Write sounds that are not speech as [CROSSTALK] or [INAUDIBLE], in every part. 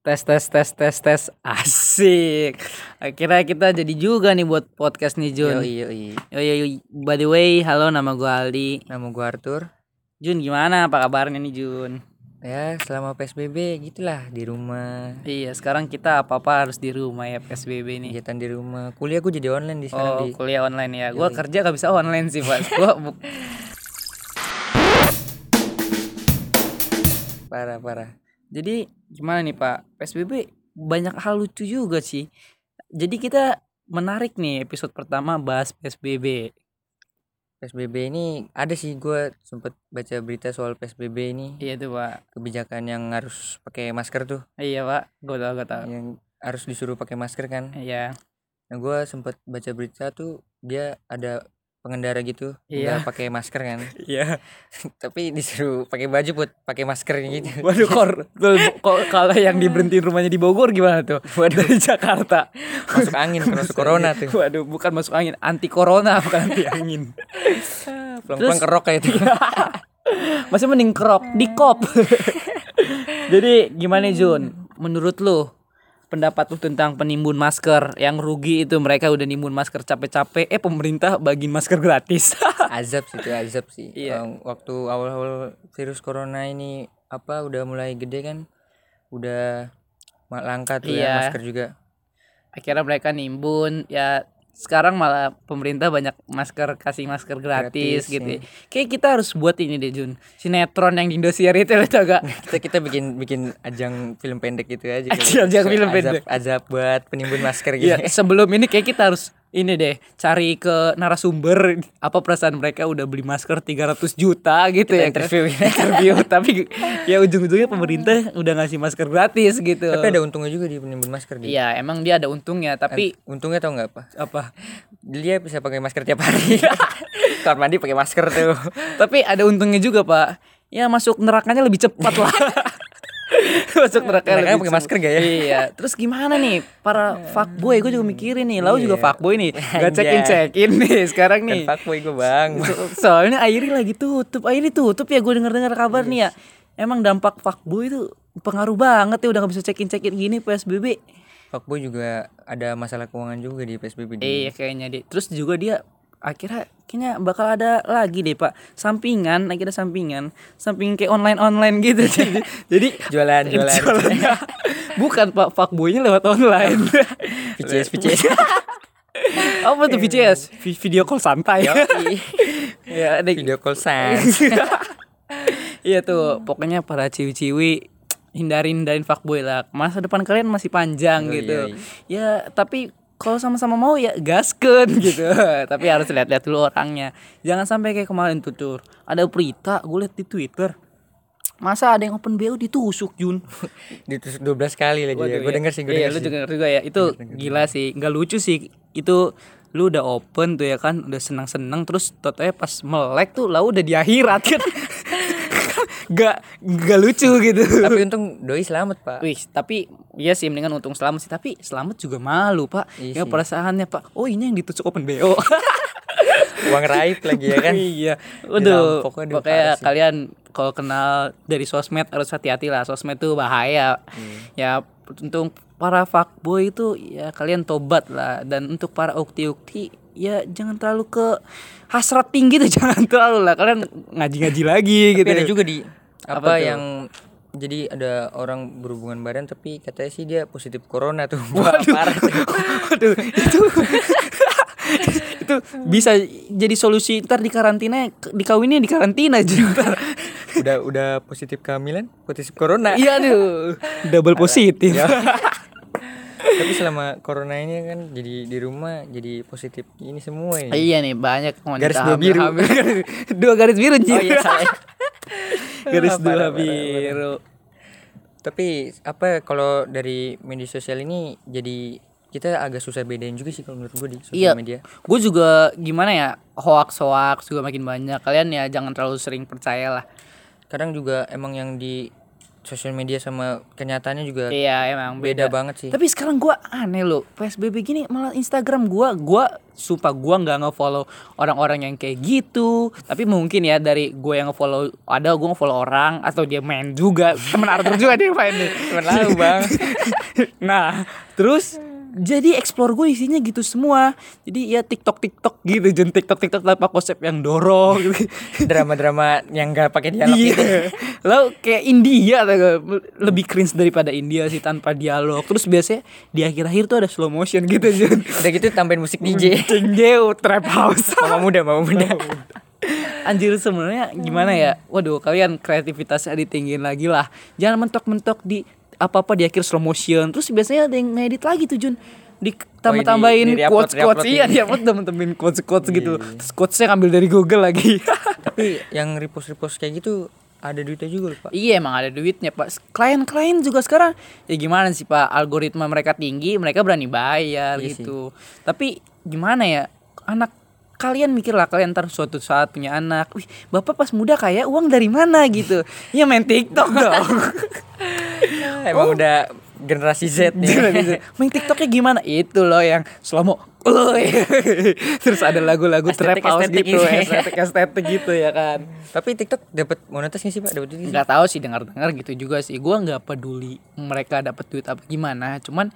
Tes tes tes tes tes asik. Akhirnya kita jadi juga nih buat podcast nih Jun. Yo yo yo. Yo yo yo. By the way, halo nama gua Aldi. Nama gue Arthur. Jun gimana? Apa kabarnya nih Jun? Ya selama PSBB gitulah di rumah Iya, sekarang kita apa-apa harus di rumah ya PSBB nih. kegiatan di rumah. Kuliah gue jadi online di sekarang Oh, di. kuliah online ya. Gua kerja gak bisa online [LAUGHS] sih, Mas. Gua bu- Parah parah. Jadi gimana nih Pak? PSBB banyak hal lucu juga sih. Jadi kita menarik nih episode pertama bahas PSBB. PSBB ini ada sih gue sempet baca berita soal PSBB ini Iya tuh Pak. kebijakan yang harus pakai masker tuh Iya Pak. Gue tau gue tau. yang harus disuruh pakai masker kan. Iya. Nah gue sempet baca berita tuh dia ada pengendara gitu Iya. nggak pakai masker [LAUGHS] kan Iya. tapi disuruh pakai baju buat pakai masker gitu Waduh kor, Tuh, ko- kalau yang diberhentiin rumahnya di Bogor gimana tuh? Dari Jakarta. masuk angin masuk corona [LAUGHS] tuh Waduh, bukan masuk angin, anti corona bukan anti angin. pelan-pelan kerok kayak gitu. itu Masih mending crop, di kop. [LAUGHS] Jadi gimana Jun? Menurut lu pendapat lu tentang penimbun masker yang rugi itu mereka udah nimbun masker capek-capek eh pemerintah bagiin masker gratis. [LAUGHS] azab sih itu azab sih Iya. Em, waktu awal-awal virus corona ini apa udah mulai gede kan udah ma- langka tuh Iya. ya masker juga Akhirnya mereka nimbun ya sekarang malah pemerintah banyak masker kasih masker gratis, Gratis, gitu. ya. Kayak kita harus buat ini deh Jun. Sinetron yang di Indosiar itu [LAUGHS] lo tau gak? kita kita bikin bikin ajang film pendek gitu aja kali. Ajang- ajang film Azab- pendek. azab buat penimbun masker gitu Iya, sebelum ini kayak kita harus ini deh, cari ke narasumber apa perasaan mereka udah beli masker 300 juta gitu ya. [LAUGHS] interview. kan? interview tapi ya ujung-ujungnya pemerintah udah ngasih masker gratis gitu. tapi ada untungnya juga di penimbun masker dia Iya, emang dia ada untungnya tapi untungnya tau nggak apa Iya. apa? dia bisa pakai masker tiap hari [LAUGHS] kamar mandi pakai masker tuh Tapi ada untungnya juga, Pak. Ya masuk nerakanya lebih cepat [LAUGHS] lah. masuk nerakanya Nerakanya Kan lebih pakai masker gak ya? Iya. Terus gimana nih para fuckboy gue juga mikirin nih. Lau juga fuckboy [LAUGHS] nih. Gak Anjay. cekin cekin nih [LAUGHS] sekarang nih. Iya. kan fuckboy gue bang So- Soalnya Airi lagi tutup. Airi tutup ya gue denger-dengar kabar nih ya. Emang dampak fuckboy itu pengaruh banget ya udah gak bisa cekin cekin gini PSBB. fuckboy juga ada masalah keuangan juga di psbb dia. Iya kayaknya deh. Terus juga dia akhirnya kayaknya bakal ada lagi deh pak sampingan akhirnya sampingan samping kayak online online [LAUGHS] gitu jadi jadi jualan jualan jualannya- [LAUGHS] bukan pak fuckboynya lewat [LAUGHS] online PCS [LAUGHS] PCS apa Iya. tuh VCS Vi- video call santai [LAUGHS] ya ada [LAUGHS] video call sans [LAUGHS] Iya tuh, pokoknya para ciwi-ciwi hindarin hindarin fuckboy lah. Masa depan kalian masih panjang Yoi, gitu. yoi. Ya, tapi kalau sama-sama mau ya gaskeun [LAUGHS] gitu. tapi harus lihat-lihat dulu orangnya. Jangan sampai kayak kemarin tuh Tur. Ada berita gue lihat di Twitter. Masa ada yang open BO ditusuk Jun. ditusuk 12 kali lagi ya. Waduh, Gue iya. denger sih, gue Iya, denger lu sih. Iya, denger juga ya. Itu gila sih, nggak lucu sih. Itu lu udah open tuh ya kan, udah senang-senang terus totonya pas melek tuh lah udah di akhirat [LAUGHS] kan. gak gak lucu gitu. Tapi untung doi selamat, Pak. Wih, tapi iya sih mendingan untung selamat sih, tapi selamat juga malu, Pak. Ya Iya sih. perasaannya, Pak. Oh, ini yang ditusuk open BO. [LAUGHS] Uang raib lagi ya kan. iya. Udah, Dirampok, aduh, pokoknya parah sih. kalian kalau kenal dari sosmed harus hati-hati lah. Sosmed tuh bahaya. Hmm. Ya, untuk para fuckboy itu ya kalian tobat lah dan untuk para ukti-ukti ya jangan terlalu ke hasrat tinggi tuh [LAUGHS] jangan terlalu lah kalian ngaji-ngaji lagi Tapi gitu. ada juga di apa, Apa tuh? yang jadi ada orang berhubungan badan tapi katanya sih dia positif corona tuh. Wah, Waduh, [LAUGHS] parah. waduh, itu itu bisa jadi solusi ntar di karantina dikawinnya di karantina [LAUGHS] aja ntar. Udah udah positif kehamilan, positif corona. Iya aduh, Iya. double positif. tapi selama corona ini kan jadi di rumah jadi positif ini semua ini. Iya nih banyak wanita Garis dua hamil- biru. hamil. Garis- [LAUGHS] dua garis biru Jir. Oh, iya, salah. [LAUGHS] garis Ah, dua parah, parah, biru. Tapi apa kalau dari media sosial ini jadi kita agak susah bedain juga sih kalau menurut gue di Iya. sosial media. Gue juga gimana ya hoax hoax juga makin banyak. Kalian ya jangan terlalu sering percaya lah. kadang juga emang yang di sosial media sama kenyataannya juga Iya emang beda, beda banget sih. Tapi sekarang gua aneh loh PSBB gini malah Instagram gua gua sumpah gua nggak ngefollow orang-orang yang kayak gitu. Tapi mungkin ya dari gua yang ngefollow ada gua ngefollow orang atau dia main juga temen Arthur juga dia main nih. Temen lu, Bang. [LAUGHS] nah terus jadi explore gue isinya gitu semua jadi ya tiktok tiktok gitu jen tiktok tiktok tanpa konsep yang dorong [LAUGHS] gitu Drama-drama yang gak pakai dialog gitu. Iya. [LAUGHS] Lo kayak India tau gak? lebih cringe daripada India sih tanpa dialog. Terus biasanya di akhir-akhir tuh ada slow motion gitu [LAUGHS] Jun. Udah gitu tambahin musik DJ. Jengdeu trap house. Mama muda, [LAUGHS] mama muda. [LAUGHS] Anjir sebenarnya gimana ya? Waduh, kalian kreativitasnya ditinggiin lagi lah. Jangan mentok-mentok di apa-apa di akhir slow motion. Terus biasanya ada yang ngedit lagi tuh Jun Oh, ditambah-tambahin di- di- di-upload, quotes quotes di-upload iya ini. dia upload temen-temen quotes quotes gitu terus quotesnya ngambil dari Google lagi [LAUGHS] Tapi yang repost-repost kayak gitu ada duitnya juga loh, Pak. Iya emang ada duitnya pak. Klien-klien juga sekarang ya gimana sih pak? Algoritma mereka tinggi, mereka berani bayar Iya gitu. Tapi gimana ya? Anak kalian mikirlah kalian ntar suatu saat punya anak. Wih bapak pas muda kaya uang dari mana gitu? ya main TikTok dong. Ya, Emang udah generasi Z Jangan nih. gitu. main TikToknya gimana? Itu loh yang slomo. [LAUGHS] Terus ada lagu-lagu trap house Estetik-estetik gitu, ini. estetik-estetik gitu ya kan. Tapi TikTok dapat monetis gak sih, Pak? Dapat duit nggak sih? Iya. nggak tahu sih dengar-dengar gitu juga sih gua nggak peduli mereka dapat duit apa gimana cuman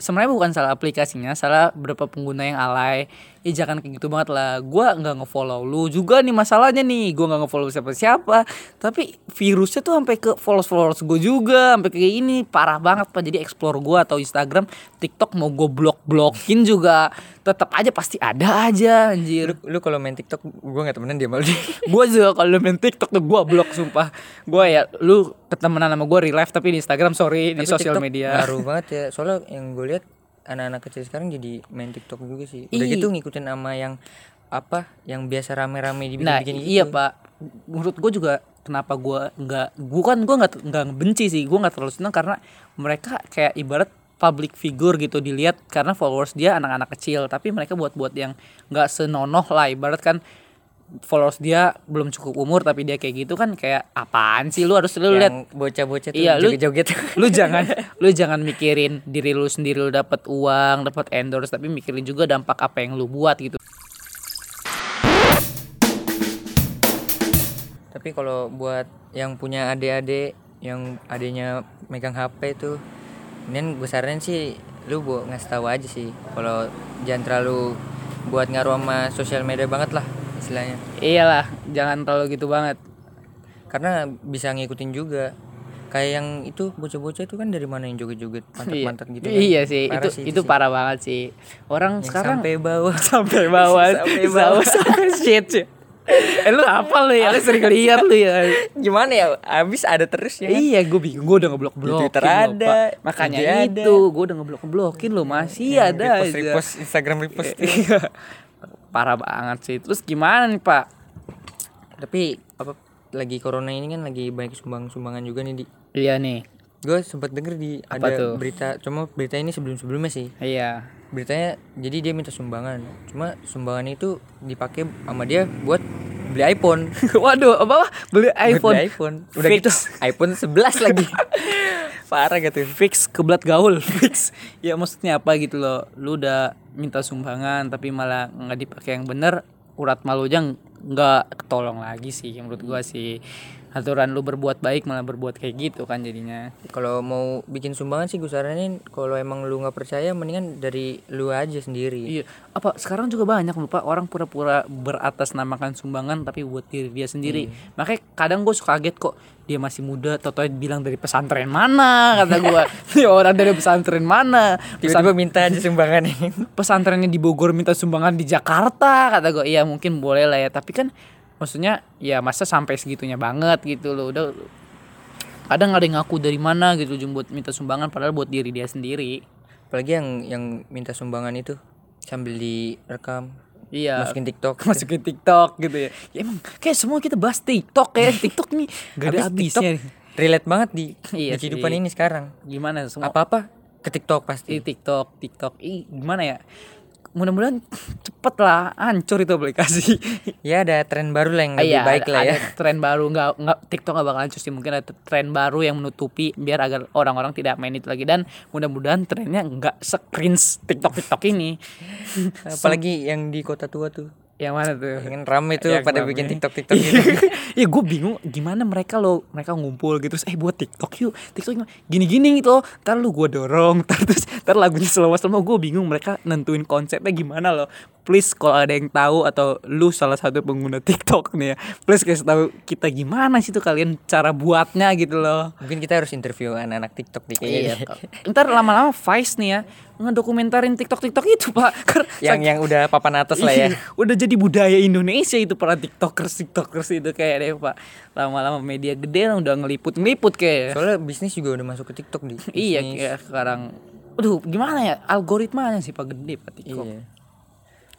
sebenarnya bukan salah aplikasinya salah berapa pengguna yang alay ya jangan kayak gitu banget lah gua nggak ngefollow lu juga nih masalahnya nih gua nggak ngefollow siapa-siapa tapi virusnya tuh sampai ke followers followers gue juga sampai kayak ini parah banget pak jadi explore gua atau Instagram TikTok mau gue blok blokin juga tetap aja pasti ada aja anjir Lu, lu kalau main TikTok gua gak temenan dia malu [LAUGHS] dia. gue juga kalau main TikTok tuh gue blok sumpah gue ya lu ketemenan sama gue real life tapi di Instagram sorry di Tapi sosial TikTok media Ngaruh banget ya. Soalnya yang gue lihat anak-anak kecil sekarang jadi main TikTok juga sih. Udah Ih. gitu ngikutin sama yang apa yang biasa rame-rame nah dibikin-bikin gitu. iya pak menurut gue juga kenapa gue nggak bukan gue nggak nggak benci sih gue nggak terlalu senang karena mereka kayak ibarat public figure gitu dilihat karena followers dia anak-anak kecil tapi mereka buat-buat yang nggak senonoh lah ibarat kan followers dia belum cukup umur tapi dia kayak gitu kan kayak apaan sih lu harus lu lihat yang bocah-bocah tuh Iya, lu- joget-joget. [LAUGHS] lu jangan lu jangan mikirin diri lu sendiri lu dapat uang dapat endorse tapi mikirin juga dampak apa yang lu buat gitu Tapi kalau buat yang punya adik-adik yang adiknya megang HP itu mending gue saranin sih lu bu ngasih tahu aja sih kalau jangan terlalu buat ngaruh sama sosial media banget lah istilahnya iyalah jangan terlalu gitu banget karena bisa ngikutin juga kayak yang itu bocah-bocah itu kan dari mana yang joget-joget Iya. pantat-pantat gitu kan. iya sih Parah itu sih itu parah banget sih orang Yang sekarang sampai bawah [LAUGHS] [LAUGHS] sampai bawah Sampai bawah. sampai shit ya. eh lu apa lu ya lu sering lihat lu ya gimana ya abis ada terus ya kan? Iya, gue bingung. Gue udah ngeblok blokin Di Twitter ada, Makanya di ada. itu, gue udah ngeblok blokin lo masih Iya, ada repost, aja. repost Instagram repost [LAUGHS] Iya. Parah banget sih. Terus gimana nih Pak? [LAUGHS] tapi apa lagi corona ini kan lagi banyak sumbang-sumbangan juga nih di Iya nih. gue sempat denger di Apa ada tuh? berita cuma berita ini sebelum-sebelumnya sih Iya. beritanya jadi dia minta sumbangan cuma sumbangan itu dipakai sama dia buat beli iPhone [LAUGHS] Waduh, apa, apa? beli iPhone. iPhone. iPhone. Udah Fix. gitu [LAUGHS] iPhone 11 [LAUGHS] lagi. Parah gitu. Fix kebelat gaul, [LAUGHS] fix. Ya maksudnya apa gitu loh. Lu udah minta sumbangan tapi malah nggak dipakai yang bener, urat malu aja nggak ketolong lagi sih menurut gua sih. Aturan lu berbuat baik malah berbuat kayak gitu kan jadinya. Kalau mau bikin sumbangan sih gue saranin kalau emang lu nggak percaya mendingan dari lu aja sendiri. Iya, apa sekarang juga banyak lupa orang pura-pura beratas namakan sumbangan tapi buat diri dia sendiri. Makanya kadang gue suka kaget kok dia masih muda, toto bilang dari pesantren mana kata gue, ya orang dari pesantren mana, Pesan- Tiba-tiba minta [LAUGHS] aja sumbangan ini. pesantrennya di Bogor minta sumbangan di Jakarta kata gue, iya mungkin boleh lah ya, tapi kan maksudnya ya masa sampai segitunya banget gitu loh, udah kadang ada yang ngaku dari mana gitu ujung buat minta sumbangan padahal buat diri dia sendiri. Apalagi yang yang minta sumbangan itu sambil direkam Iya. masukin TikTok. [LAUGHS] masukin TikTok gitu ya. Ya emang kayak semua kita bahas TikTok [LAUGHS] ya. TikTok nih gak ada Habis habisnya. nih. Relate banget di, Iya di kehidupan sih. Iya. ini sekarang. Gimana semua Apa-apa ke TikTok pasti. Ih, TikTok, TikTok. Ih, gimana ya? mudah-mudahan cepet lah hancur itu aplikasi [LAUGHS] ya ada tren baru lah yang lebih Iya, baik ada- lah ya ada tren baru nggak nggak TikTok nggak bakal hancur sih mungkin ada tren baru yang menutupi biar agar orang-orang tidak main itu lagi dan mudah-mudahan trennya nggak screens TikTok TikTok [LAUGHS] ini apalagi yang di kota tua tuh yang mana tuh pengen rame tuh Yang pada rame. bikin tiktok [LAUGHS] tiktok gitu ya gue bingung gimana mereka lo mereka ngumpul gitu terus eh buat TikTok yuk TikTok gini gini gitu loh ntar lu gue dorong [LAUGHS] ntar terus ntar lagunya selama selama gue bingung mereka nentuin konsepnya gimana loh please kalau ada yang tahu atau lu salah satu pengguna TikTok nih ya please kasih tahu kita gimana sih tuh kalian cara buatnya gitu loh gitu. mungkin kita harus interview anak-anak tiktok nih Iya. kayaknya ya. deh. ntar lama-lama Vice nih ya ngedokumentarin TikTok TikTok itu pak [LAUGHS] Kar- yang yang udah papan atas [LAUGHS] lah ya Iya, Udah jadi budaya Indonesia itu para tiktokers tiktokers itu kayak deh pak. Lama-lama media gede lah udah ngeliput ngeliput kayak. soalnya bisnis juga udah masuk ke tiktok di iya bisnis. kayak sekarang. Aduh gimana ya algoritmanya sih pak gede pak tiktok. Iya.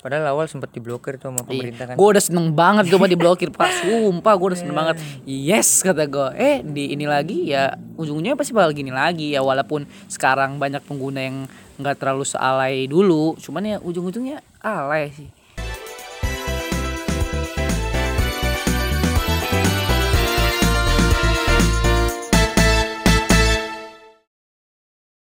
Padahal awal sempat diblokir tuh sama pemerintah kan. Iya. Gue udah seneng banget coba diblokir [LAUGHS] pak Sumpah gue udah seneng banget Yes kata gue Eh di ini lagi ya Ujungnya pasti bakal gini lagi ya Walaupun sekarang banyak pengguna yang nggak terlalu sealai dulu Cuman ya ujung-ujungnya alay sih